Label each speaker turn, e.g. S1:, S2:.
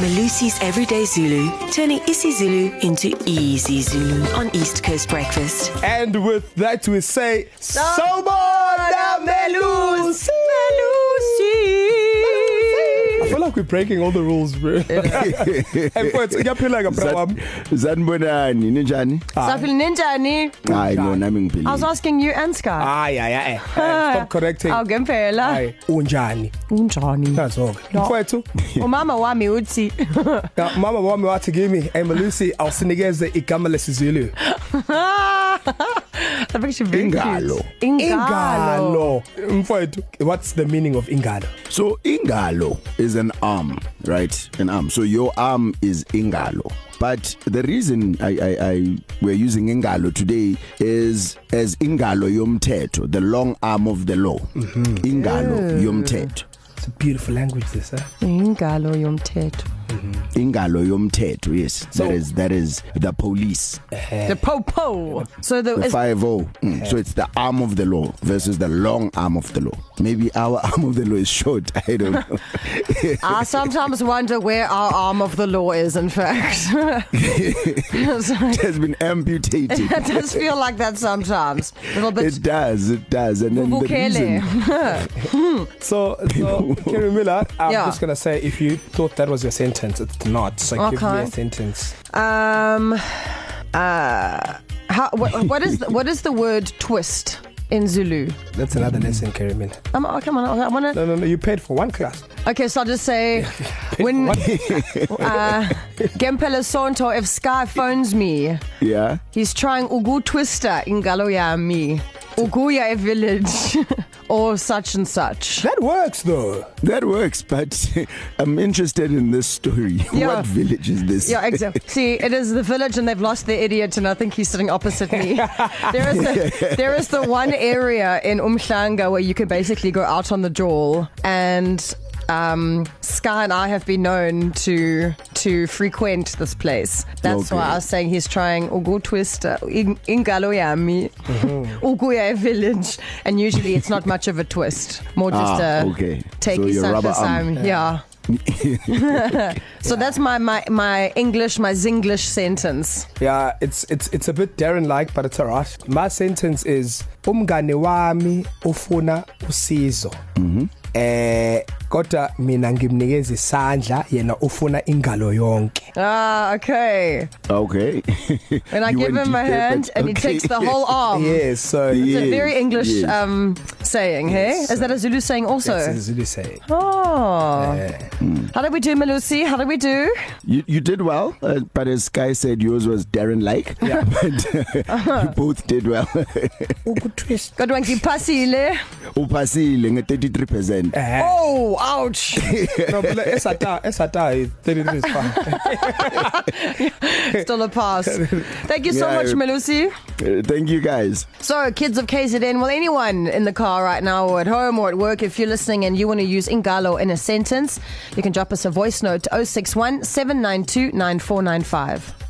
S1: Malusi's Everyday Zulu, turning isiZulu into easy Zulu on East Coast Breakfast.
S2: And with that, we say,
S1: Sobona
S2: Sobona Melusi! I feel like we're breaking all the rules, bro. Hey, mfowethu, uyaphileka, bro wami.
S3: Sanibonani ninjani?
S4: Saphil ninjani?
S3: Hayi no nami
S4: I was
S3: ngiphilile.
S4: asking you and Sky.
S2: Ay, ay, ay. Eh, Stop correcting.
S4: Aw ngempela.
S2: Ay, unjani?
S4: Unjani?
S2: That's okay.
S4: No.
S2: Mfowethu,
S4: Umama wami uthi
S2: na- mama wami wathi kimi, hey Malusi, awusinikeze igama lesiZulu.
S4: I think she very
S3: Ingalo.
S4: cute.
S2: Ingalo.
S4: Ingalo.
S2: Mfowethu, what's the meaning of ingalo?
S3: So ingalo is an arm, right? An arm. So your arm is ingalo. But the reason I I I we're using ingalo today is as ingalo yomthetho, the long arm of the law. Mm-hmm. Ingalo yeah. yomthetho.
S2: It's a beautiful language this, eh?
S4: Ingalo yomthetho.
S3: Ingalo yomthetho. Yes. So,
S2: So-
S3: that is that is the police.
S4: The popo. So the
S3: The
S4: is,
S3: 50. Mm. Yeah. So it's the arm of the law versus the long arm of the law. Maybe our arm of the law is short. I don't know.
S4: I sometimes wonder where our arm of the law is in fact.
S3: it
S4: It
S3: has been amputated.
S4: does feel like that sometimes. A little bit
S3: It does, it does. And then the
S4: Vuvukele.
S3: reason
S2: So, so Kerry Miller, I'm yeah.
S4: Yeah.
S2: just going to say if you thought that was your sentence, it's not. So okay. give me a
S4: Okay.
S2: sentence.
S4: Um, uh, how, what, what is the, what is the word twist in Zulu?
S2: That's another lesson, Kerry Miller.
S4: Um, oh, come on, I want to.
S2: No, no, no, you paid for one class.
S4: Okay, so I'll just say when uh, Gempele Sonto, if Sky phones me,
S3: Yeah.
S4: he's trying Ugu Twister in Galoyami, Uguya village, or such and such.
S2: That works though.
S3: That works, but I'm interested in this story. Yeah.
S4: Yeah.
S3: What village is this?
S4: Yeah, exactly. See, it is the village, and they've lost their idiot, and I think he's sitting opposite me. there is the, there is the one area in Umhlanga where you can basically go out on the jaw, and um, Sky and I have been known to to frequent this place. That's okay. why
S3: Okay.
S4: I was saying he's trying Ugu Twister in Ingaloyami,
S3: Mm-hmm.
S4: Uguya village, and usually it's not much of a twist, more just
S3: Ah,
S4: a
S3: okay.
S4: take
S3: So your rubber arm.
S4: yeah. yeah. So that's my my my English my Zinglish sentence.
S2: Yeah, it's it's it's a bit Darren like, but it's alright. My sentence is umngane wami ufuna usizo. Mhm. Eh kodwa mina ngimnikeza isandla yena ufuna ingalo yonke.
S4: Ah, okay.
S3: Okay.
S4: When I
S3: You
S4: give
S3: went
S4: him a
S3: deep there,
S4: hand
S3: but
S4: and he
S3: okay.
S4: takes the whole arm.
S2: Yes, so
S4: It's
S3: Yes,
S4: a very English
S3: yes.
S4: yes. um saying, yes. hey? Is that a Zulu saying also?
S2: yes, as you say.
S4: Oh. How did we do, Malusi? How did we do?
S3: You, you did well, uh, but as Sky said, yours was Darren like. Yeah. but
S4: Uh-huh.
S3: uh, you both did well.
S2: Ukutwist.
S4: Good one, Kipasile.
S3: Upasile nge 33%.
S2: Eh.
S4: Oh, ouch.
S2: No, but like, esata esata 33 is fine.
S4: Still a pass. Thank you so
S3: Yeah,
S4: yeah, much,
S3: I-
S4: Malusi.
S3: Uh, thank you guys.
S4: So, kids of KZN, well, anyone in the car right now, or at home, or at work, if you're listening and you want to use Ingalo in oh a sentence, you can drop us a voice note to 061 792 9495.